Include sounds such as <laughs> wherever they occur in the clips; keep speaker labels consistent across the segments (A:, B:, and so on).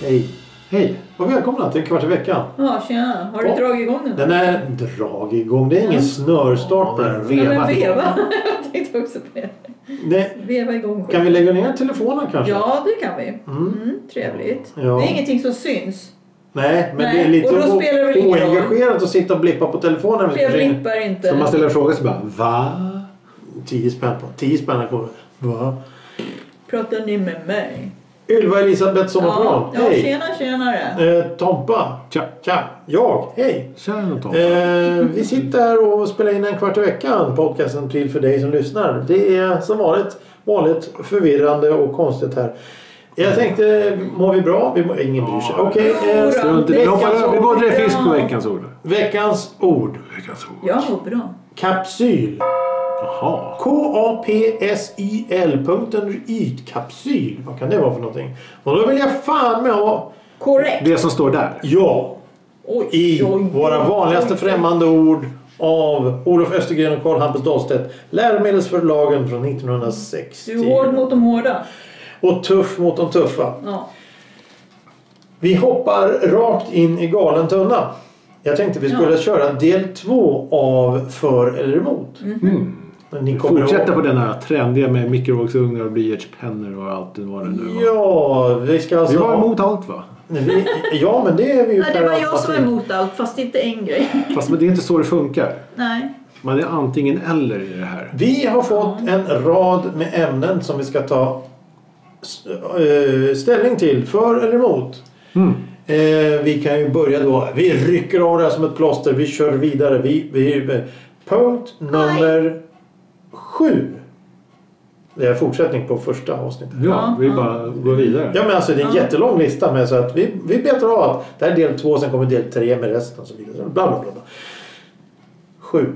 A: Hej! Hej och välkomna till Kvart i veckan.
B: Ja, tjena. Har du
A: Ja.
B: dragit igång nu?
A: Den är drag igång. Det är ingen
B: Mm.
A: snörstart på den.
B: Ja, men
A: Veva.
B: veva. <laughs> Jag tänkte också på det.
A: Nej,
B: Veva igång skiten.
A: kan vi lägga ner telefonen kanske?
B: Ja, det kan vi.
A: Mm.
B: Mm, trevligt.
A: Ja.
B: Det är ingenting som syns.
A: Nej, men
B: Nej,
A: det är lite
B: och då spelar det väl ingen roll.
A: oengagerat att sitta och blippa på telefonen.
B: Jag blippar inte.
A: Så man ställer en fråga så bara va? 10 spänn på. 10 spänn kommer. Va?
B: Pratar ni med mig?
A: Ylva Elisabeth
B: Ja,
A: Sommarplan.
B: ja
A: Hej!
B: tjena, tjenare.
A: Eh, Tompa.
C: Tja.
A: Tja. Jag. Hej.
C: Tjena Tom.
A: Eh, vi sitter här och spelar in en kvart i veckan. Podcasten till för dig som lyssnar. Det är som vanligt vanligt förvirrande och konstigt här. Jag tänkte, mår vi bra? Vi mår, ingen bryr sig. Okej. eh,
B: Jodå.
C: Strunt i det.
B: Veckans
C: Hoppa över. Vi går direkt fisk på
B: ord.
C: veckans ord.
A: veckans ord.
C: Veckans ord.
B: Jag mår bra.
A: Kapsyl.
C: Jaha.
A: K-A-P-S-I-L.ytkapsyl. Vad kan det vara för någonting? Och då vill jag fan med ha...
B: Korrekt.
C: Det som står där.
A: Ja.
B: Oj,
A: i
B: oj, oj.
A: våra vanligaste främmande ord av Olof Östergren och Carl Hampus Dahlstedt. Läromedelsförlagen från
B: Du är hård
A: 1960.
B: mot de hårda.
A: Och tuff mot de tuffa.
B: Ja.
A: Vi hoppar rakt in i galen tunna. Jag tänkte vi skulle
B: Ja.
A: köra del två av För eller emot.
B: Mhm.
A: Men Ni kommer
C: Mm. Fortsätta
A: ihåg-
C: på den här trendiga med mikrovågsugnar och blyertspennor och allt det var det nu var.
A: Ja, vi ska alltså...
C: Vi var emot allt va?
A: Vi, ja, men det är vi ju
B: Nej,
A: per
B: det var jag som
A: automatik.
B: var emot allt, fast inte en grej. <laughs>
C: Fast men det är inte så det funkar.
B: Nej.
C: Man är antingen eller i det här.
A: Vi har fått en rad med ämnen som vi ska ta s- eh, ställning till, för eller emot.
C: Mm.
A: Eh, Vi kan ju börja då. Vi rycker av det här som ett plåster. Vi kör vidare. Vi, vi, eh, punkt nummer sju. Det är fortsättning på första avsnittet.
C: Ja, vi bara går vidare.
A: Ja men alltså det är en jättelång lista med så att vi, vi betar av att det här är del två sen kommer del tre med resten och så vidare. Bla bla bla. bla. Sju.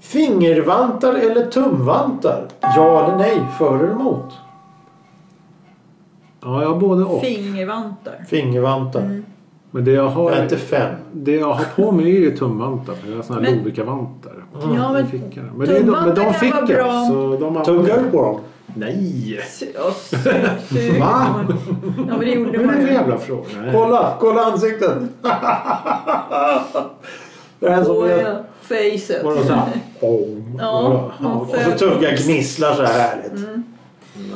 A: Fingervantar eller tumvantar? Ja eller nej? För eller emot?
C: Ja, jag har både och.
B: Fingervantar.
A: Fingervantar.
B: Mm.
C: Men det jag
A: Jag är
C: har,
A: inte fem.
C: det jag har på mig är ju tumvantar. för Jag har såna här
B: Men-
C: Lovikkavantar.
B: Ja, men
C: Fick jag. Men, det är ju de, men
B: tumvantar
C: de
B: kan
C: fick
B: vara bra.
C: jag. Så de
A: Tuggar du på dem?
C: Nej!
B: Su- ja,
A: <laughs>
B: su- su-
C: Va?
B: Ja, men det gjorde
C: Men det är
B: man
C: för
B: ju.
C: jävla fråga. Nej.
A: Kolla! Kolla ansiktet! det är en som
B: Åh,
A: gör...
B: ja. Facet.
A: Var det så här?
B: Ja,
C: Ja,
B: och
A: Och så tuggar gnisslar så här härligt.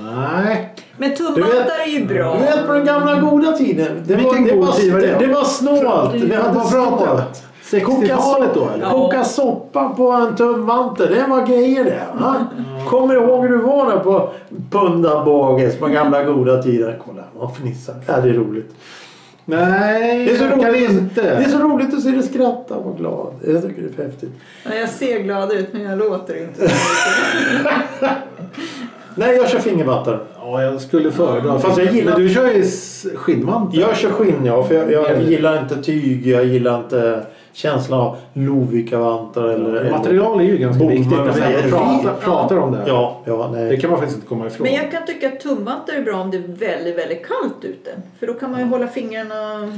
C: Nej.
B: Men
A: Du vet-
B: tumvantar är ju bra.
A: Du vet på den gamla goda tiden. Det var,
C: Vilken
A: det
C: god
A: var,
C: tid var
A: det,
C: det?
A: var snålt. Vi hade
C: Vad pratar vi?
A: snålt. Koka,
C: 60-talet då eller?
B: Ja.
A: koka soppa på en tumvante. Det var grejer det. Va? Kommer du ihåg hur du var där på Punda Bagis på gamla goda tider? Kolla, vad fnissar. Ja, det är roligt.
C: Nej,
A: Det är, så
C: jag kan
A: roligt
C: inte.
A: det är så roligt att se dig skratta och vara glad. Jag tycker det är för häftigt.
B: Ja, jag ser glad ut men jag låter inte.
A: Nej, jag kör fingervantar.
C: Ja, jag skulle föredra.
A: Fast jag gillar-
C: Men du kör ju s- skinnmantel.
A: Jag kör skinn ja, för jag, jag gillar inte tyg. Jag gillar inte känslan av Lovikkavantar eller... eller-
C: Material är ju ganska
A: Bommar,
C: viktigt när
A: säger
C: man
A: vi.
C: pratar, pratar om det här.
A: Ja, ja, nej.
C: Det kan man faktiskt inte komma ifrån.
B: Men jag kan tycka att tumvantar är bra om det är väldigt, väldigt kallt ute. För då kan man ju hålla fingrarna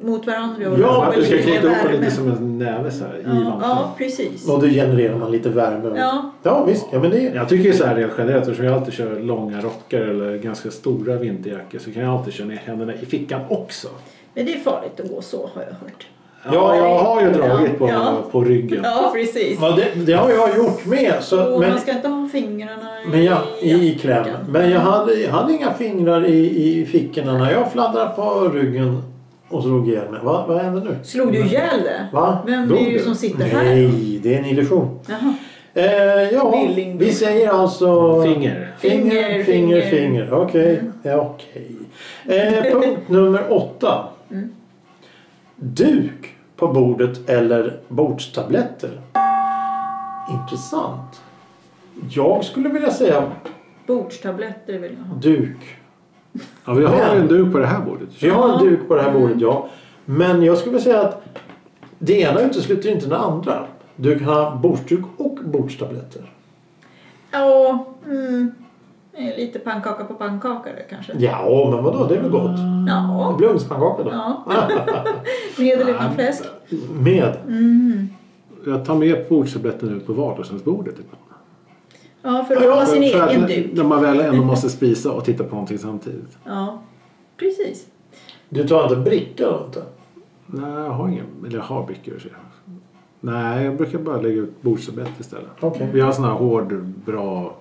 B: mot varandra. Och
A: Ja,
B: få
C: Att du ska
B: lite
C: knyta upp den
B: värme.
C: lite som en näve så här, i
B: Ja,
C: vanten.
B: ja, precis.
A: Och då genererar man lite värme.
B: Ja.
A: ja visst. Ja, men det...
C: Jag tycker ju så här rent generellt eftersom jag alltid kör långa rockar eller ganska stora vinterjackor så kan jag alltid köra ner händerna i fickan också.
B: Men det är farligt att gå så har jag hört.
C: Ja,
A: Ja,
C: jag har ju dragit
B: ja,
C: på,
B: ja.
C: på ryggen.
B: Ja, precis.
A: Ja, det, det har jag gjort med. Så,
B: Och
A: men
B: man ska inte ha fingrarna i
A: men jag, i kläm.
B: jackan.
A: Men jag hade, jag hade inga fingrar i, i fickorna. När jag fladdrade på ryggen och slog ihjäl mig. Va, vad hände nu?
B: Slog du ihjäl det?
A: Va?
B: Vem
C: Dog
B: är det
C: du?
B: som sitter här?
A: Nej, det är en illusion.
B: Jaha.
A: Eh, ja,
B: Billing.
A: vi säger alltså...
C: Finger.
A: Finger,
B: Finger,
A: finger,
B: finger.
A: finger. Okej. Ja, okej. Eh, punkt nummer åtta.
B: Mm.
A: Duk på bordet eller bordstabletter? Intressant. Jag skulle vilja säga
B: Bordstabletter vill jag ha.
A: duk.
C: Ja, vi har
A: Men-
C: ju en duk på det här bordet.
A: Vi har en
B: Ja. Mm.
A: duk på det här bordet, ja. Men jag skulle vilja säga att det ena utesluter inte det andra. Du kan ha bordsduk och bordstabletter.
B: Ja, mm. lite pannkaka på pannkaka där kanske.
A: Ja, men vadå? Det är väl gott?
B: Ja.
A: Blomspannkaka då?
B: ja. Med eller utan fläsk?
A: Med?
B: Mm.
C: Jag tar med bordstabletten ut på vardagsrumsbordet ibland.
B: Ja, för att ha sin
C: För att
B: egen
C: när-
B: duk.
C: När man väl ändå måste spisa och titta på någonting samtidigt.
B: Ja, precis.
A: Du tar inte en bricka då inte?
C: Nej, jag har ingen. Eller jag har brickor. Så jag. Nej, jag brukar bara lägga ut bordstabletter istället.
A: Okej.
C: Vi har sån här hård, bra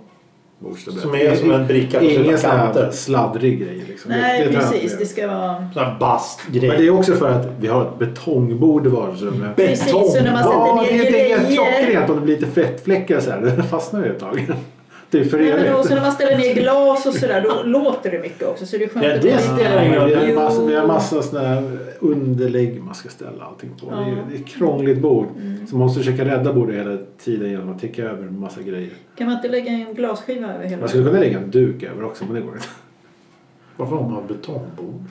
C: bordstabletter.
A: Som är som en bricka på sina
C: Ingen sån
A: kanter.
C: här sladdrig grej. Liksom.
B: Nej,
C: tar jag inte
B: precis.
C: med.
B: Det ska vara...
A: Sån här bastgrej.
C: Men det är också för att vi har ett betongbord i vardagsrummet.
A: Betong.
B: Precis, så när man Mm. sätter
C: Ja,
B: ner
C: det är det är
B: grejer.
C: klockrent om det blir lite fettfläckar så här. <laughs> Det fastnar ju ett tag. <laughs> Det är för
B: Nej, men då,
C: evigt.
B: så när man ställer ner glas och sådär, då låter det mycket också. Så det är skönt
A: Ja,
B: att
A: det
B: man-
A: spelar
C: Ja,
A: ingen roll.
C: men Vi har massa,
B: Jo.
C: vi har massa såna här underlägg man ska ställa allting på. Det, är, ju-
B: Ja. Mm.
C: det är ett krångligt bord. Så man måste försöka rädda bordet hela tiden genom att täcka över en massa grejer.
B: Kan man inte lägga en glasskiva över hela?
C: Man skulle kunna lägga en duk över också men det går inte. <laughs>
A: Varför har man betongbord?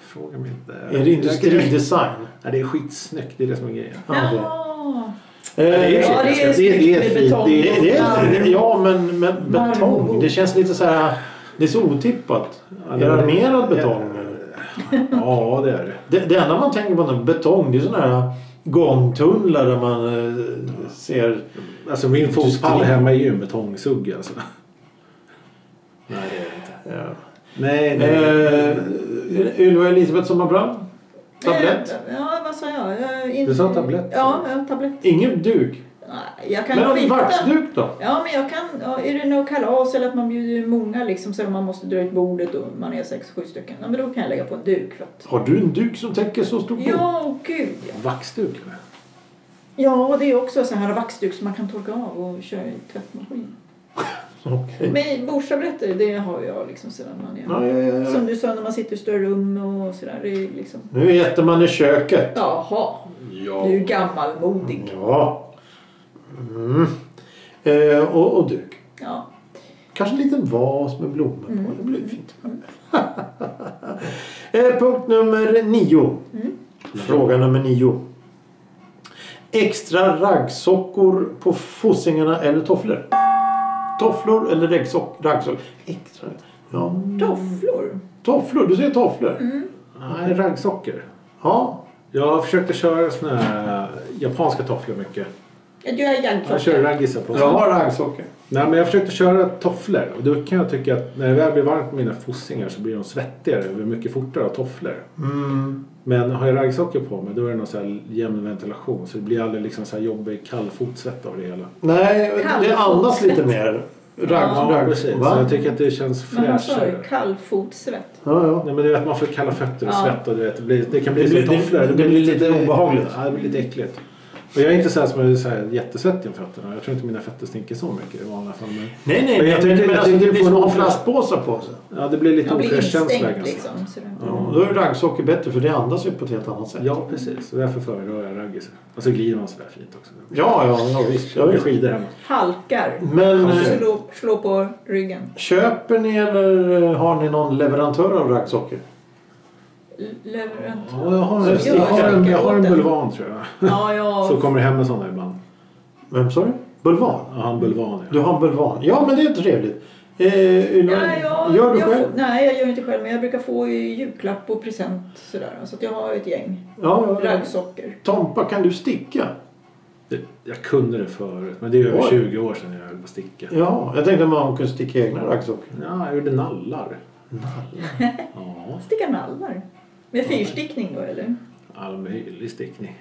C: Fråga mig inte.
A: Är det industridesign?
C: Nej, det är skitsnyggt. Det är det som är grejen.
B: Jaha!
A: Eh,
C: ju
B: Ja, det är
C: Det- det är
B: snyggt med
C: fint.
B: betong.
C: Det-
A: det- det- det- ja, men, men betong. Det känns lite så här... Det är så otippat. Är det armerad betong? eller?
C: Ja, det är det.
A: Det, det enda man tänker på när betong det är sådana här gångtunnlar där man eh, ser...
C: Alltså min fotpall hemma är ju en betongsugg alltså. Nej, det är det inte.
A: Ja.
C: Nej,
A: Eh, Ylva och Elisabeth Sommarbrand? Tablett?
B: Eh, Ja, vad sa jag? jag in...
C: Du sa tablett, sa
B: Ja, ja, tablett.
A: Ingen duk?
B: Nej, Jag kan
A: Men en
B: skifta.
A: vaxduk då?
B: Ja, men jag kan. Ja, är det något kalas eller att man bjuder många liksom så man måste dra ut bordet och man är sex, sju stycken. Ja, men då kan jag lägga på en duk för att...
A: Har du en duk som täcker så stort bord?
B: Ja, åh, gud ja.
C: Vaxduk eller?
B: Ja, det är också så här vaxduk som man kan torka av och köra i tvättmaskinen.
A: Okej.
B: Men bordstabletter, det har jag liksom sedan man är...
A: Mm. Ja, ja, ja, ja.
B: Som du sa, när man sitter i större rum och sådär. Det är liksom...
A: Nu äter man i köket.
B: Jaha,
C: Ja.
B: du är gammalmodig.
A: Ja. Mm. Eh, och, och duk.
B: Ja.
A: Kanske en liten vas med blommor på. Det blir fint. <laughs> eh, punkt nummer nio. Fråga nummer nio. Extra raggsockor på fossingarna eller tofflor? Tofflor eller raggsock- raggsockor? Extra? Ja.
B: Tofflor?
A: Tofflor? Du säger tofflor?
C: Nej, raggsockor.
A: Ja.
C: Jag försökte köra såna här eh, japanska tofflor mycket.
B: Ja, Du är
C: Jag kör
B: jaggklocka.
C: raggisar på.
A: Jag har raggsockor.
C: Nej, men jag försökte köra tofflor. Och då kan jag tycka att när det väl blir varmt med mina fossingar så blir de svettigare och blir mycket fortare av tofflor.
A: Mm.
C: Men har jag raggsockor på mig då är det någon så här jämn ventilation så det blir aldrig liksom så här jobbig kall fotsvett av det hela.
A: Nej, det
B: Kallfotsvett.
A: andas lite mer. Ragg,
B: Ja,
A: ragg,
C: precis.
A: va?
C: Så jag tycker att det känns
B: Men alltså, han sa ju
C: fräschare.
B: kallfotsvett.
A: Ja, ja.
C: Nej men du vet man får kalla fötter och
B: Ja.
C: svett och du vet, det, blir, det kan bli
A: Det
C: som
A: blir- det-
C: tofflor.
A: det blir lite obehagligt.
C: Ja, det blir lite äckligt. Och jag är inte så här som är så här jättesvettig om fötterna. Jag tror inte mina fötter stinker så mycket i vanliga fall. Men,
A: Nej, nej,
C: Men
A: men
C: jag
A: jag
C: tycker-
A: tänkte
C: jag
A: men alltså,
C: tänkte
A: det blir
C: på
A: som att ha
C: någon-
A: plastpåsar på sig.
C: ja, det blir lite
B: Han blir
C: ofräsch känsla
B: instängt
C: ganska snabbt.
B: liksom. sådär.
A: Ja, då är ju raggsocker bättre för det andas ju på ett helt annat sätt.
C: Ja precis, och därför föredrar jag raggis. Och så glider man sådär fint också.
A: ja, ja, ja visst. Ja,
C: Jag är
A: visst.
C: skidor hemma.
B: Halkar.
A: Men
C: Okej.
A: eh,
B: Slå, slå på ryggen.
A: köper ni eller eh, har ni någon leverantör av raggsocker?
B: L- Leverantör.
C: Ja, jag har,
A: Så
C: en, jag, har en, jag har en
B: jag-
C: bulvan tror jag.
B: Ja, ja.
C: Så kommer det hem med sådana ibland.
A: Vem sa du? Bulvan?
C: Jag har en bulvan ja.
A: Du har en bulvan. Ja, men det är trevligt. Eh, Ylva,
B: Ja, jag,
A: gör du
B: jag
A: själv?
B: Får, nej, jag gör inte själv. Men jag brukar få i julklapp och present sådär. Så att jag har ett gäng
A: Ja, ja.
B: raggsockor.
A: Tompa, kan du sticka?
C: Det, jag kunde det förut men det är över
A: Oj.
C: 20 år sedan jag höll på att sticka.
A: Ja, jag tänkte att man kunde sticka egna raggsockor.
C: Ja, jag gjorde nallar. Nallar? Ja,
B: Sticka nallar. Med fyrstickning då eller?
C: all möjlig stickning.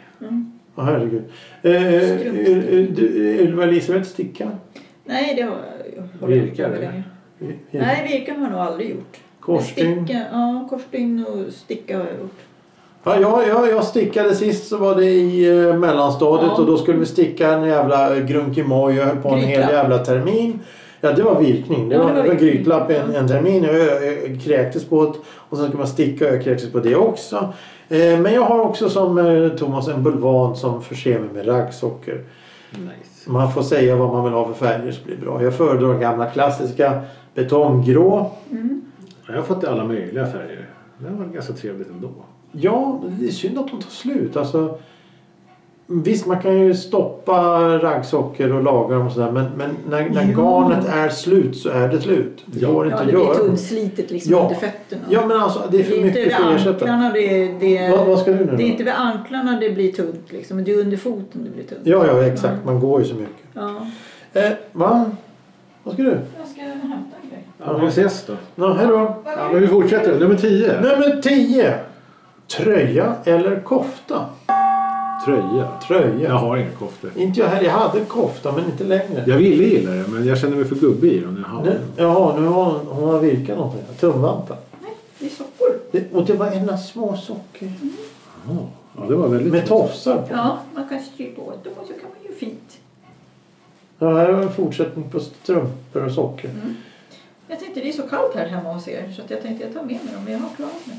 A: Åh, herregud. Eh,
B: Strumpstickning.
A: du- Ylva Elisabeth, sticka?
B: Nej, det har jag håller jag inte
C: Virkar,
B: på med
C: eller?
B: längre.
A: Eh,
B: Nej, virka har jag nog aldrig gjort.
A: Korsstygn?
B: Sticka, ja, korsstygn och sticka har jag gjort.
A: Ja, jag, jag, jag stickade sist så var det i eh, mellanstadiet
B: Ja.
A: och då skulle vi sticka en jävla eh, grunkimoj. Jag höll på en hel
B: Grytlapp.
A: jävla termin. Ja, det var virkning. Det
B: Ja,
A: var,
B: det var
A: det var
B: virkning.
A: grytlapp en, en termin. Jag, jag, jag kräktes på det och sen skulle man sticka och jag kräktes på det också. Eh, men jag har också som eh, Thomas en bulvan som förser mig med raggsockor.
C: Nice.
A: Man får säga vad man vill ha för färger så blir det bra. Jag föredrar de gamla klassiska betonggrå.
C: Jag har fått i alla möjliga färger. Det var ganska trevligt ändå.
A: Ja, det är synd att de tar slut. Alltså, Visst, man kan ju stoppa raggsockor och laga dem och sådär. Men, men när, när
B: Jo.
A: garnet är slut så är det slut. Det
C: Ja.
A: går inte
B: Ja,
A: att
B: det blir
A: göra.
B: tunnslitet liksom
A: Ja.
B: under fötterna.
A: Ja, men alltså det är för
B: inte
A: mycket
B: vid
A: för att ersätta.
B: anklarna det, det,
A: Vad, vad ska du nu
B: det är
A: då?
B: inte vid anklarna det blir tunt liksom. men Det är under foten det blir tunt.
A: Ja, ja, exakt. Man går ju så mycket.
B: Ja.
A: Eh, va? Vad ska du?
D: Jag ska hämta en grej.
C: Ja, men vi ses då.
A: Nå, hej då.
C: Ja, men vi fortsätter. Nummer 10.
A: Nummer 10. Tröja eller kofta?
C: Tröja.
A: Tröja.
C: Jag har inga koftor.
A: Inte jag heller. Jag hade kofta, men inte längre.
C: Jag ville gilla det, men jag känner mig för gubbig i den. när Jag har
A: Nu,
C: den.
A: jaha, nu har hon, hon har virkat någonting. Tumvantar.
D: Det är sockor.
A: Det, och det var ena små socker.
C: Jaha. Ja, det var väldigt...
A: Med tofsar på.
D: Ja, man kan stryka åt dem och så kan man ju fint.
A: Ja, här var en fortsättning på strumpor och socker.
D: Jag tänkte det är så kallt här hemma hos er så att jag tänkte jag tar med mig dem men jag har klarat mig.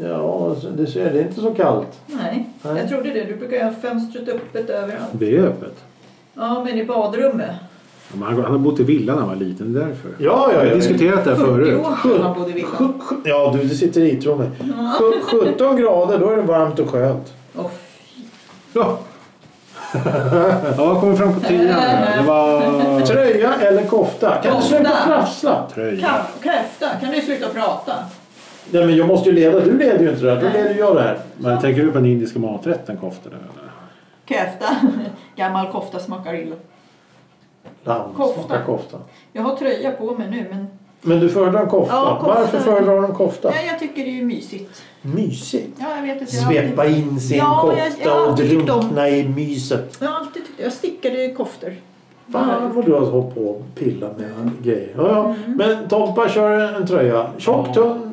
A: Ja, så- du ser, det är inte så kallt.
D: Nej,
A: Nej.
D: jag trodde det. Du brukar ju ha fönstret öppet överallt.
C: Det är öppet.
D: Ja, men i badrummet.
C: Ja, men han, han har bott i villa när han var liten, det är därför.
A: Ja,
C: Vi
A: ja,
C: har
A: ja.
C: diskuterat det här
D: 40
C: förut.
D: år sedan man bodde i villan.
A: Sju- sju- Ja, du, du sitter i, tro mig. Sju- 17 grader, då är det varmt och skönt.
D: Oh,
C: Ja. ja, kommer fram på 10 här. Det var...
A: Tröja eller kofta? Kan du
D: Kofta.
A: sluta prassla?
C: Tröja.
D: ka- kräfta, kan du sluta prata?
A: Nej, men jag måste ju leda. Du leder ju inte det här. Då leder jag det här.
C: Men tänker du på den indiska maträtten koftor? där, Eller?
D: Kräfta. <laughs> Gammal kofta smakar illa.
A: Lamm,
D: Kofta.
A: smakar kofta.
D: Jag har tröja på mig nu men
A: Men du föredrar en kofta.
D: Ja, kofta.
A: Varför föredrar du en kofta?
D: ja, jag tycker det är ju mysigt.
A: Mysigt.
D: Ja, jag vet inte. jag har alltid-
A: Svepa in sin
D: Ja, men jag- jag
A: kofta
D: har
A: och
D: alltid tyckt om-
A: drunkna i myset.
D: Jag har alltid tyckt Jag stickade koftor.
A: Fan vad du har hållit på och pillat med grejer. Ja, ja.
D: Mm.
A: Men Tompa kör en tröja. Tjock,
C: Ja.
A: tunn,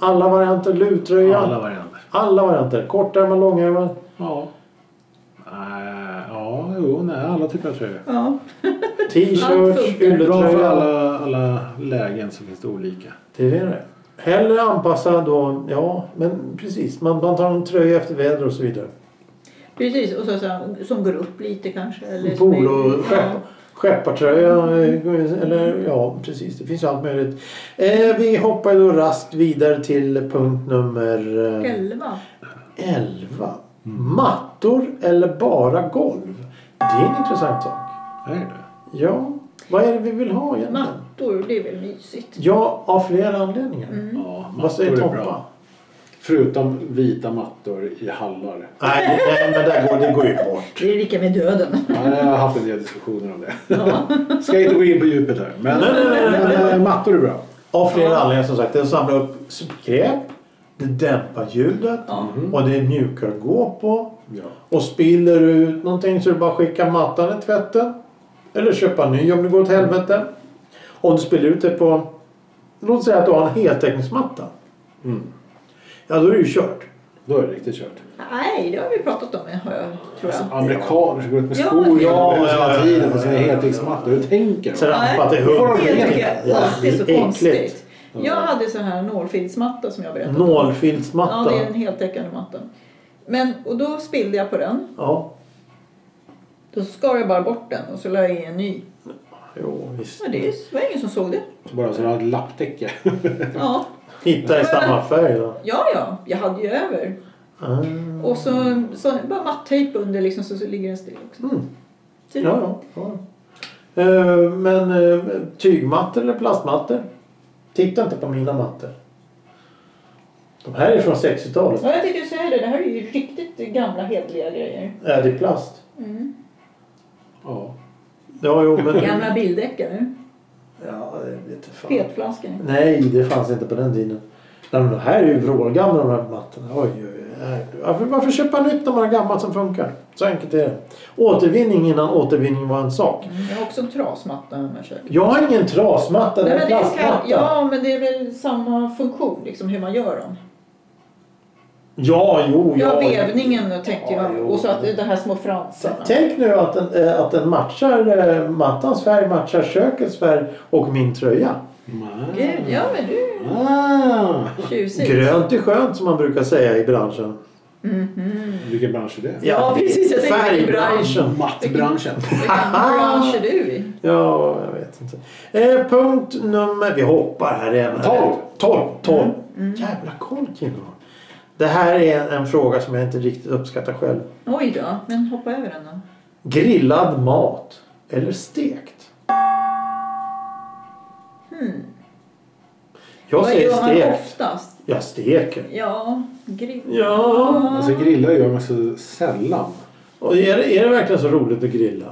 A: alla varianter. Luvtröja.
C: Alla
A: Alla.
C: varianter.
A: varianter. Kortärmad, långärmad.
C: Ja. Nej, ja, jo, nej, alla typer av tröjor.
D: Ja. Allt
A: T-shirts,
D: funkar.
C: Bra för
A: ylletröja.
C: alla, alla lägen så finns det olika.
A: Det är det. Hellre anpassa då, ja men precis. Man, man tar en tröja efter väder och så vidare.
B: Precis, och så, så, som går upp lite kanske. Eller som är-
A: Polo, skepp,
B: ja.
A: skeppartröja eh, eller ja precis. Det finns allt möjligt. Eh, vi hoppar ju då rast vidare till punkt nummer... eh,
B: Elva.
A: 11. Mattor eller bara golv? Det är en intressant sak.
C: Är
A: Mm.
C: det?
A: Ja, vad är det vi vill ha egentligen?
B: Mattor, det är väl mysigt?
A: Ja, av flera anledningar.
B: Mm.
C: Ja,
A: Vad
C: mattor
A: säger
C: är
A: Tompa?
C: bra. Förutom vita mattor i hallar.
A: Nej, det- nej, men där går, det går ju bort.
B: Det är lika med döden.
C: Ja, jag har haft en del diskussioner om det. <laughs> Ska inte gå in på djupet här. Men,
A: Nej, nej, nej, nej,
C: men, eh, mattor är bra.
A: Av flera anledningar som sagt. Den samlar upp skräp. Det dämpar ljudet. Och det är mjukare att gå på.
C: Ja.
A: Och spiller du ut någonting så är det bara att skicka mattan i tvätten. Eller köpa en ny om det går åt helvete. Om du spiller ut det på... Låt säga att du har en heltäckningsmatta.
C: Mm.
A: Ja, då är det ju kört.
C: Då är det riktigt kört.
B: Nej, det har vi pratat om, har jag, tror jag.
C: Amerikaner som går ut med
B: Ja,
C: skor
A: ja,
C: ja, hela
A: ja, ja,
C: tiden på sina
A: ja, ja, ja.
C: heltäckningsmattor. Hur tänker de?
A: Sen rampat i
C: Då får
A: huvudet.
C: de
B: Det
C: ren.
B: tycker jag alltid är så
A: Äckligt.
B: konstigt. Jag hade så här nålfilsmatta som jag berättade om. Ja,
A: Nålfiltsmatta.
B: det är en heltäckande matta. Men, och då spillde jag på den.
A: Ja,
B: Då skar jag bara bort den och så la jag i en ny.
A: jo visst.
B: Ja, det var ingen som såg det.
C: Bara så de har ett lapptäcke.
B: Ja,
A: Hitta i samma färg då.
B: ja, ja. jag hade ju över.
A: Ah.
B: Och så, så bara matttejp under liksom så, så ligger den still också. Typ.
A: Mm.
B: Så-
A: Ja, ja. ja. Eh, Men eh, tygmattor eller plastmattor? Titta inte på mina mattor. De här är från 60-talet.
B: Ja, jag tänkte säga det. Det här är ju riktigt gamla hedliga grejer.
A: Ja, det är plast.
C: Ja.
A: Ja, jo, men...
B: Mm. <laughs> Gamla bildäck eller?
A: Ja, det vet jag Mm. fan.
B: Petflaskor.
A: Nej, det fanns inte på den tiden. Nej, men de här är ju vrålgamla de här mattorna. Oj, oj, oj. Varför, varför köpa nytt när man har gammalt som funkar? Så enkelt är det. Återvinning innan återvinning var en sak.
B: Jag har också en trasmatta hemma i köket.
A: Jag har ingen trasmatta, det
B: Nej,
A: är
B: men
A: en
B: det ska,
A: plastmatta. Ja.
B: ja, men det är väl samma funktion, liksom hur man gör dem.
A: ja, jo,
B: Ja,
A: Oh, ja.
B: vevningen tänkte
A: Ja,
B: jag.
A: jo.
B: Och så att det här små fransarna.
A: Tänk nu att den, eh, att den matchar eh, mattans färg, matchar kökets färg och min tröja.
B: Gud, ja men du
C: Ah.
B: är tjusig.
A: Grönt är skönt som man brukar säga i branschen.
C: Vilken bransch är det?
B: Ja, precis, jag tänkte i
A: Färgbranschen.
C: Mattbranschen.
B: Vilken bransch är du i?
A: Ja, jag vet inte. Eh, punkt nummer... Vi hoppar här igen.
C: Tolv.
B: Mm,
A: Tolv. Tolv. Jävla koll killen har. Det här är en, en fråga som jag inte riktigt uppskattar själv.
B: Oj då, men hoppa över den då.
A: Grillad mat eller stekt? Jag
B: Hmm. Vad
A: säger
B: gör man
A: stekt.
B: oftast?
A: Jag steker.
B: Ja, grill.
A: Ja.
C: Alltså grillar gör man så sällan.
A: Och är, det, är det verkligen så roligt att grilla?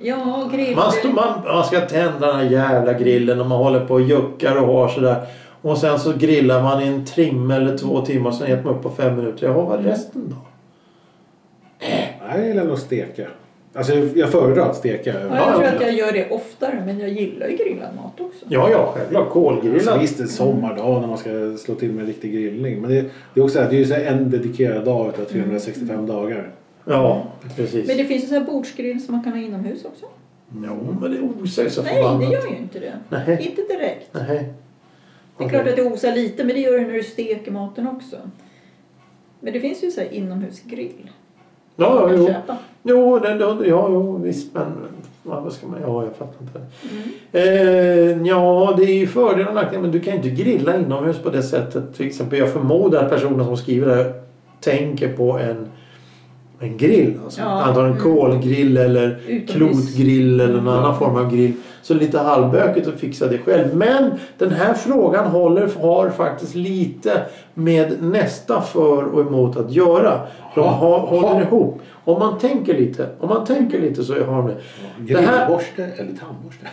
B: Ja, grill.
A: Man, står- man, man ska tända den här jävla grillen och man håller på och juckar och har sådär. Och sen så grillar man i en timme eller två timmar sen äter man upp på fem minuter. Jaha, vad är resten då?
C: Nej, jag gillar nog steka. Alltså jag jag föredrar att steka.
B: Ja,
A: Ja,
B: jag tror
A: ja.
B: att jag gör det oftare, men jag gillar ju grillad mat också.
A: Ja, ja, självklart.
C: Alltså,
A: Kolgrillad.
C: visst, en sommardag när man ska slå till med en riktig grillning. Men det, det är också så här, det är ju så här en dedikerad dag
B: Mm.
C: utav 365 dagar.
A: Ja, precis.
B: Men det finns ju så här bordsgrill som man kan ha inomhus också.
A: Jo, men det osar ju så
B: Nej,
A: förbannat.
B: det gör ju inte det.
A: Nej.
B: Inte direkt.
A: Nej.
B: Det är klart att det osar lite, men det gör det när du steker maten också. Men det finns ju så här inomhusgrill.
A: Ja,
B: Man
A: ja,
B: kan
A: jo.
B: köpa.
A: Jo, det, det, ja, jo, visst. Men ja, vad ska man... Ja, jag fattar inte.
B: Mm.
A: Eh, ja, det är ju fördelar och nackdelar. Men du kan ju inte grilla inomhus på det sättet. Till exempel, jag förmodar att personen som skriver det här tänker på en, en grill. Alltså,
B: Ja,
A: antagligen
B: mm.
A: kolgrill eller
B: Utomhus. Mm.
A: klotgrill eller någon annan form av grill. Så lite halvbökigt att fixa det själv. Men den här frågan håller, har faktiskt lite med nästa för och emot att göra. De
C: Ja.
A: har, håller
C: Ja.
A: ihop. Om man tänker lite, om man tänker lite så har de det. Det här-
C: Grillborste eller tandborste?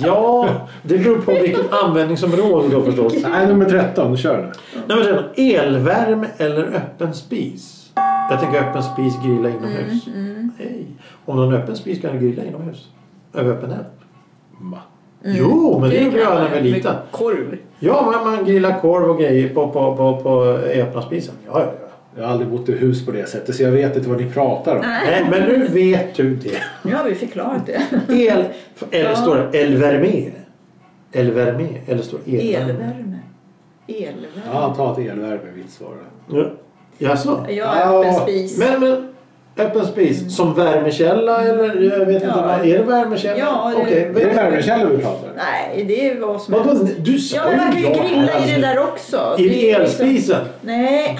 A: Ja, det beror på vilket användningsområde då förstås.
C: Nej, nummer 13. Kör nu.
A: Nummer tre, elvärme eller öppen spis? Jag tänker öppen spis, grilla inomhus. Nej. Om du har en öppen spis kan du grilla inomhus. Över öppen eld.
C: Ma.
A: Jo, men Mm. det
B: kan
A: gjorde jag när jag var
B: man ju
A: liten.
B: med Korv.
A: Ja, men man grillar korv och grejer på, på, på, på öppna spisen. Ja, ja, ja.
C: Jag har aldrig bott i hus på det sättet så jag vet inte vad ni pratar om.
A: Nej, men nu vet du det.
B: Nu har vi förklarat det.
A: El, eller står det elvärme? Elvärme, eller står det <laughs> elvärme?
B: Elvärme. Elvärme.
C: Ja, ta ett elvärme mitt svar.
A: Ja. Jaså?
B: Jag har öppen
C: Ja,
B: spis.
A: Men, men öppen spis som värmekälla eller jag vet inte
B: Mm. Ja.
A: vad. Är det värmekälla?
B: Ja, det-
A: Okej,
C: Det är
A: vad-
C: värmekällor vi pratar om.
B: Nej, det är vad som
A: Vadå?
B: helst.
A: Du sa
B: Ja, men man kan ju
A: ja.
B: grilla i det där också.
A: I
B: Det är liksom-
A: elspisen?
B: Nej,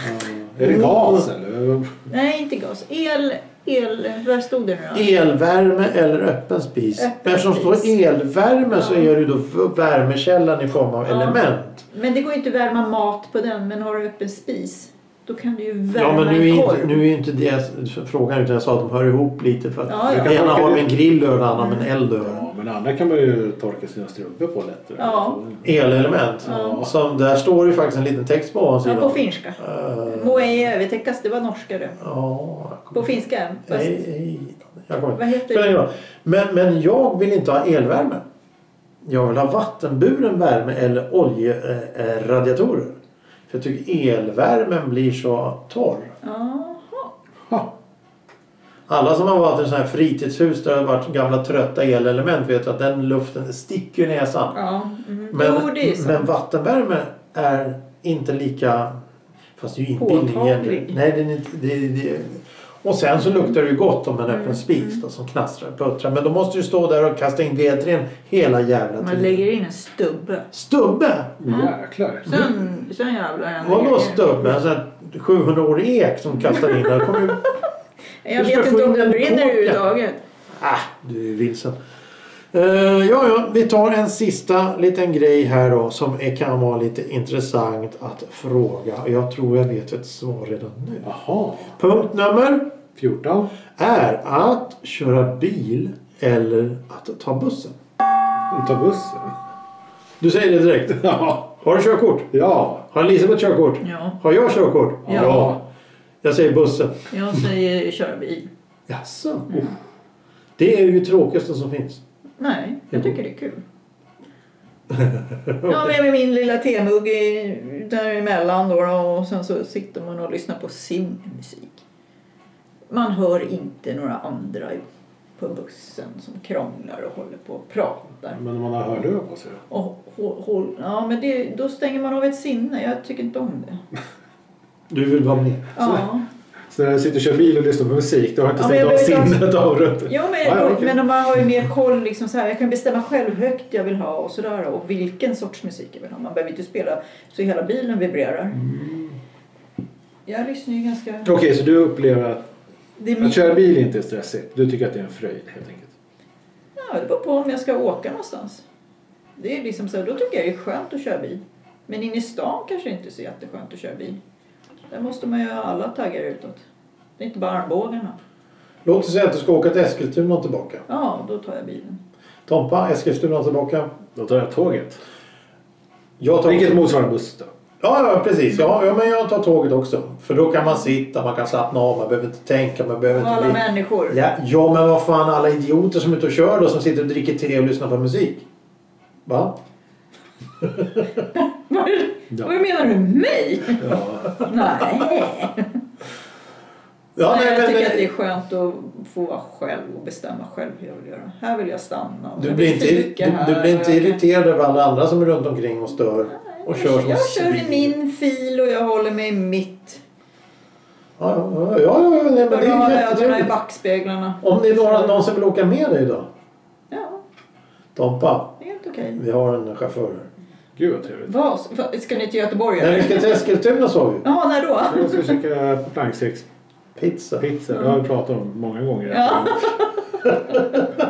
C: Är det gas eller?
B: nej inte gas. El, el, vad stod det nu då?
A: Elvärme eller öppen spis?
B: Öppen
A: Eftersom det står
B: spis.
A: elvärme så är det ju då v- värmekällan i form av
B: Ja.
A: element.
B: Men det går ju inte att värma mat på den, men har du öppen spis då kan du ju värma
A: Ja men nu är,
B: en
A: inte,
B: korv.
A: nu är inte det frågan utan jag sa att de hör ihop lite för att
B: Ja, ja.
A: det ena har med en grill att göra det andra med en eld att göra.
C: Ja, men andra kan man ju torka sina strumpor på lättare. Alltså,
B: Ja.
A: Elelement.
B: Ja.
A: Som, där står ju faktiskt en liten text på
B: ja,
A: ovansidan.
B: på finska.
A: Eh,
B: Må ej övertäckas, det var norska det.
A: Ja, jag kommer
B: På finska. Fast,
A: Nej, nej, jag kommer
B: Vad heter
A: Spelar ingen roll. Men, men jag vill inte ha elvärme. Jag vill ha vattenburen värme eller oljeradiatorer. För jag tycker elvärmen blir så torr.
B: Jaha.
C: Ha.
A: Alla som har varit i sådana här fritidshus där det har varit gamla trötta elelement vet att den luften sticker i näsan.
B: Ja, mm.
A: Men,
B: jo, det är sant.
A: men vattenvärme är inte lika... Fast det är ju
B: Påtaglig.
A: inbildning egentligen. Nej, det är inte... Det, det, och sen så luktar det ju gott om en
B: Mm,
A: öppen spis då, som knastrar och puttrar. Men då måste du stå där och kasta in vedträd hela jävla
B: Man
A: tiden.
B: lägger in en stubbe.
A: Stubbe!
C: Jäklar.
B: Sen, sen jävlar är den
A: Vadå
B: lägger in.
A: stubbe? En sån här 700-årig ek som kastar in där. Kommer ju...
B: Jag
A: Du ska
B: vet
A: få
B: inte om
A: in
B: den
A: en
B: brinner
A: kåka.
B: överhuvudtaget.
A: Ah, du är vilsen. Eh, ja, ja, vi tar en sista liten grej här då som är, kan vara lite intressant att fråga. Jag tror jag vet ett svar redan nu.
C: Jaha.
A: Punkt nummer
C: 14.
A: är att köra bil eller att ta bussen.
C: Ta bussen. <laughs>
A: Du säger det direkt.
C: Ja.
A: Har du körkort?
C: Ja.
A: Har Elisabeth körkort?
B: Ja,
A: Har jag körkort?
B: Ja.
A: Jag säger bussen.
B: jag säger kör bil.
A: Jaså? Oh. Det är ju det tråkigaste som finns.
B: Nej, jag tycker det är kul. Jag har med mig min lilla temugg i- däremellan då, då och sen så sitter man och lyssnar på sin musik. Man hör inte några andra i- på bussen som krånglar och håller på och pratar.
C: Men om man har hörlurar på sig då?
B: Och, hå- håll- ja, men det, då stänger man av ett sinne. Jag tycker inte om det.
A: Du vill vara med.
B: Ja.
C: Så när jag sitter och kör bil och lyssnar på musik då har jag inte
B: Ja, men jag
C: stängt av
B: behöver
C: sinnet av det.
B: Jo, men,
C: Ja, ja, okej.
B: men om man har ju mer koll. Liksom så här, jag kan bestämma själv hur högt jag vill ha och sådär. Och vilken sorts musik jag vill ha. Man behöver inte spela så hela bilen vibrerar.
C: Mm.
D: Jag lyssnar ju ganska...
C: Okej, så du upplever att,
B: Det är min...
C: att köra bil inte är stressigt. Du tycker att det är en fröjd helt enkelt.
B: ja, det beror på om jag ska åka någonstans. Det är liksom så här, då tycker jag det är skönt att köra bil. Men inne i stan kanske det inte är så jätteskönt att köra bil. Där måste man ju ha alla taggar utåt. Det är inte bara armbågarna.
A: Låt oss säga att du ska åka till Eskilstuna och tillbaka.
B: Ja, då tar jag bilen.
A: Tompa, Eskilstuna och tillbaka.
C: Då tar jag tåget.
A: Jag tar...
C: Vilket motsvarar buss då.
A: Ja, ja, precis. Ja, ja, men jag tar tåget också. För då kan man sitta, man kan slappna av, man behöver inte tänka, man behöver
B: Och
A: inte
B: alla
A: bli...
B: människor.
A: Ja, ja, men vad fan alla idioter som är ute och kör då som sitter och dricker te och lyssnar på musik. Va?
B: Vad,
C: Ja.
B: vad menar du? Mig?
C: Ja.
B: Nej.
A: Ja,
B: Nej,
A: nej,
B: jag
A: men-
B: tycker att det är skönt att få vara själv och bestämma själv hur jag vill göra. Här vill jag stanna. och
A: Du
B: jag
A: blir,
B: vill
A: inte,
B: fika
A: du, du blir
B: här och
A: inte
B: jag kan-
A: irriterad över alla andra som är runt omkring och stör? Och kör som
B: Jag kör i
A: svin.
B: min fil och jag håller mig i mitt.
A: Ja, ja, ja, ja, ja nej, men
B: Jag
A: det är
B: har
A: ju
B: ögonen i
A: jättetrevligt.
B: backspeglarna.
A: Om det är några, någon som vill åka med dig då?
B: Ja,
A: Tompa,
B: det är helt okej.
A: vi har en chaufför här.
C: Gud vad trevligt.
B: Vad? vad- Ska ni till Göteborg
A: När vi
B: eller?
A: ska till Eskilstuna sa vi.
B: Jaha, när då?
C: Jag ska käka planksäckspizza.
A: Pizza.
C: Det har vi pratat om många gånger.
B: Ja.
C: Jag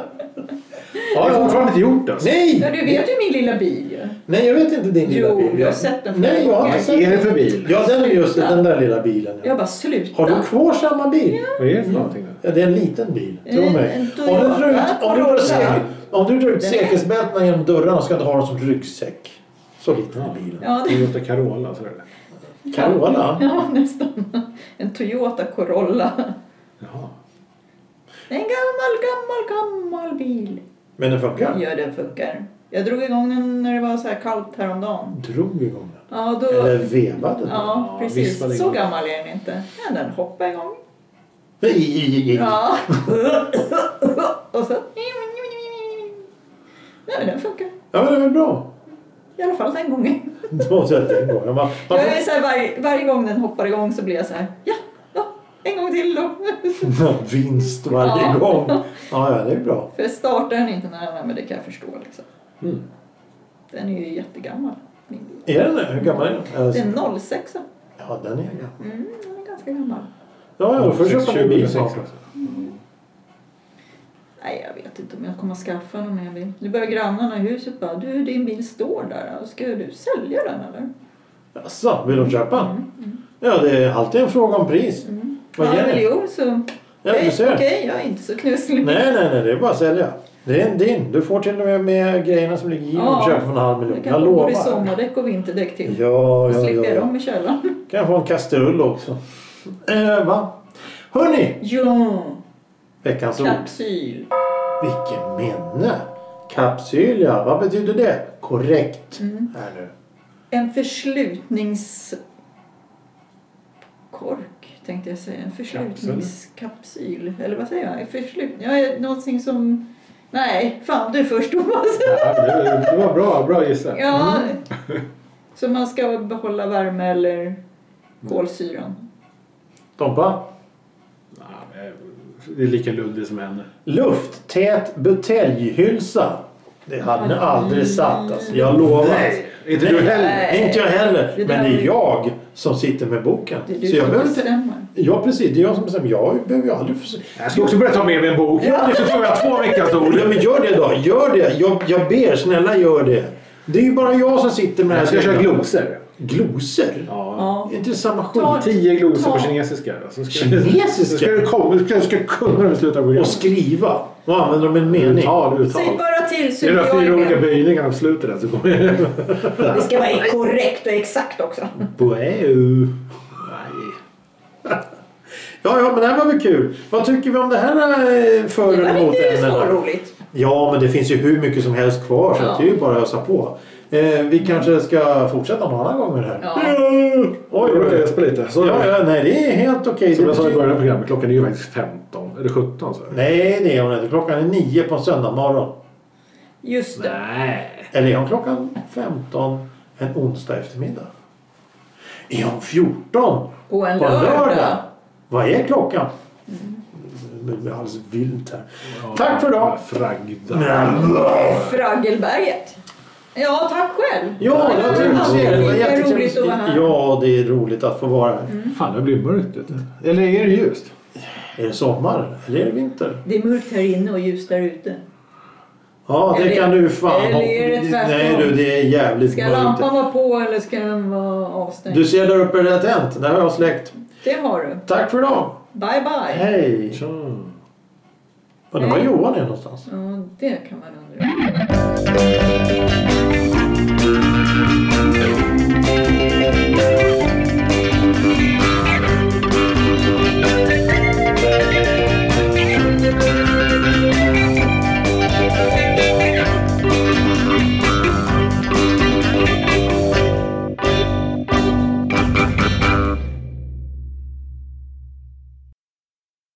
A: Ja,
C: har
A: ja.
C: fortfarande inte gjort det. Alltså.
B: Ja,
A: Nej!
B: du vet ju min lilla bil ju.
A: Nej, jag vet inte din lilla
B: Jo,
A: bil.
B: jag har sett den
A: Nej, jag har
B: flera
A: inte
C: Vad
A: sett
C: är det
A: den.
C: för bil?
A: Ja, den är just den där lilla bilen. Ja.
B: Jag bara sluta.
A: Har du kvar samma bil?
C: Vad är det för någonting?
A: Ja, det är en liten bil. Tro
B: En-
A: mig.
B: Eh, en
A: Om du drar ut-
B: Toyota
A: om du drar ut
B: Corolla.
A: säker- Om du drar ut
B: Den-
A: säkerhetsbältena genom dörrarna ska du inte ha dem som ryggsäck. Så liten är bilen.
B: Ja, det... <laughs>
C: Toyota Carola, så är det.
A: Carola?
B: ja, nästan. En Toyota Corolla.
C: Jaha.
B: En gammal, gammal, gammal bil.
A: Men den funkar?
B: Ja, den funkar. Jag drog igång den när det var så här kallt häromdagen.
A: Drog igång den.
B: Ja, då...
A: Eller vevade den?
B: Ja,
C: Ja,
B: precis.
C: vispade
B: Så
C: igång.
B: gammal är den inte. Men den hoppade igång.
A: Nej,
B: Ja. <laughs> Och så... Nej, men den funkar.
A: Ja, men det var bra. <laughs>
B: I alla fall den gången.
A: Då sätter jag igång. Jag bara, varför-
B: Jag är så här, varje, varje gång den hoppar igång så blir jag så här... Ja, ja en gång till då. <laughs>
A: Vinst varje
B: Ja.
A: gång. Ja, ja, det är bra.
B: För jag startar den inte när den är, men det kan jag förstå. Liksom.
C: Mm.
B: Den är ju jättegammal. Min bil.
A: Är den det? Hur gammal är den? Alltså,
B: Den är 06.
A: Ja, den är gammal.
B: Mm, den är ganska gammal.
A: Ja, ja, du får köpa en bil
C: 2006
A: snart.
C: alltså.
B: Nej, jag vet inte om jag kommer att skaffa någon mer bil. Nu börjar grannarna i huset bara, du din bil står där, ska du sälja den eller?
A: Jaså, vill de köpa? Ja, det är alltid en fråga om pris. Vad
B: Mm, ja,
A: ger ni?
B: miljon så...
A: Ja,
B: Nej,
A: du ser.
B: Okej, jag är inte så knusslig.
A: Nej, nej, nej, det är bara att sälja. Det är en din. Du får till och med med grejerna som ligger i
B: Ja.
A: och köper för en halv miljon.
B: Jag
A: Jag
B: kan få både
A: lovar.
B: sommardäck och vinterdäck till.
A: Ja,
B: och
A: ja,
B: slipper
A: ja.
B: jag
A: ja.
B: dem i källaren.
A: Kan jag få en kastrull också? Eh, va? Hörni!
B: Ja,
A: Veckans ord.
B: kapsyl.
A: Vilken minne! Kapsyl ja, vad betyder det? Korrekt.
B: Mm.
A: Här nu.
B: En förslutningskork tänkte jag säga. En förslutningskapsyl. Eller vad säger jag? En förslut... Ja, är någonting som... Nej, fan du först Thomas.
C: Ja, det- Det var bra, bra gissat.
B: Ja.
A: Mm.
B: <laughs> Så man ska behålla värme eller kolsyran.
A: Tompa?
C: Ja, Det är lika luddigt som henne.
A: Lufttät buteljhylsa. Det hade ni aldrig satt alltså. Jag lovar.
C: Nej, inte du heller.
A: Nej, Inte jag heller.
B: Det
A: Men det
B: där-
A: är jag som sitter med boken.
B: Det är du
A: Så jag
B: som
A: behöver inte...
B: bestämmer.
A: Ja precis, det är jag som bestämmer. Jag behöver ju aldrig... förs-
C: Jag ska också börja ta med mig en bok. Ja. Nu får jag två veckans ord.
A: Ja men gör det då. Gör det. Jag, jag ber, snälla gör det. Det är ju bara jag som sitter med
C: Jag ska
A: här
C: köra
A: grejen.
C: glosor.
A: Glosor?
C: Ja.
B: Ja.
A: Är inte det samma skit?
B: Ta-
C: Tio glosor på
B: Ta-
C: kinesiska. då. Så ska
A: Kinesiska?
C: Så ska du komma. Du ska, ska kunna dem i slutet av
A: Och
C: programmet.
A: skriva. Och använder dem i en mening.
C: Uttal,
B: Säg
C: uttal.
B: bara till så
C: Det är de
B: Typ jag
C: fyra olika
B: är med.
C: böjningarna på slutet där så kommer jag...
B: Det ska vara korrekt och exakt också.
A: <laughs>
C: Boeu. Nej.
A: Ja, ja, men det här var väl kul. Vad tycker vi om det här eh, för
B: Det
A: eller
B: var
A: emot
B: inte
A: ämnena?
B: så roligt.
A: Ja, men det finns ju hur mycket som helst kvar så
B: Ja.
A: att det är ju bara att ösa på. Eh, vi kanske ska fortsätta någon annan gång med det här.
B: Ja.
A: Oj,
C: Oj,
A: oj,
C: oj,
A: oj.
C: jag spelar lite. Så,
A: Ja, ja, nej, det är helt okej.
C: Som
A: Det
C: jag sa i
A: betyder-
C: början av programmet, klockan är ju faktiskt 15. Eller 17 så.
A: Nej, det är hon inte. Klockan är nio på en söndagmorgon.
B: Just det.
C: Nej.
A: Eller är hon klockan 15 en onsdag eftermiddag? Är hon 14
B: På en
A: på en
B: lördag.
A: lördag? Vad är klockan?
B: Mm.
A: Det blir alldeles vilt här. Tack för idag.
C: Fragda.
B: Fraggelberget. Ja, tack själv.
A: Ja, det var trevligt att se er. Det var
B: Det är roligt
A: jättetrevligt.
B: att vara här. Mm.
A: Ja, det är roligt att få vara här.
C: Fan, det blir mörkt ute. Eller är det ljust?
A: Är det sommar eller är det vinter?
E: Det är mörkt här inne och ljus där ute.
A: Ja, det
B: Eller-
A: kan du fan
B: eller är det
A: hoppa-
B: tvärtom?
A: Nej du, det är jävligt
B: Ska
A: mörkt.
B: lampan vara på eller ska den vara avstängd?
A: Du ser där uppe, det är tänt. Där har jag släckt.
B: Det har du.
A: Tack för idag.
B: Bye, bye.
A: Hej.
C: Tja.
A: Undrar var Johan är någonstans.
B: Ja, det kan man undra.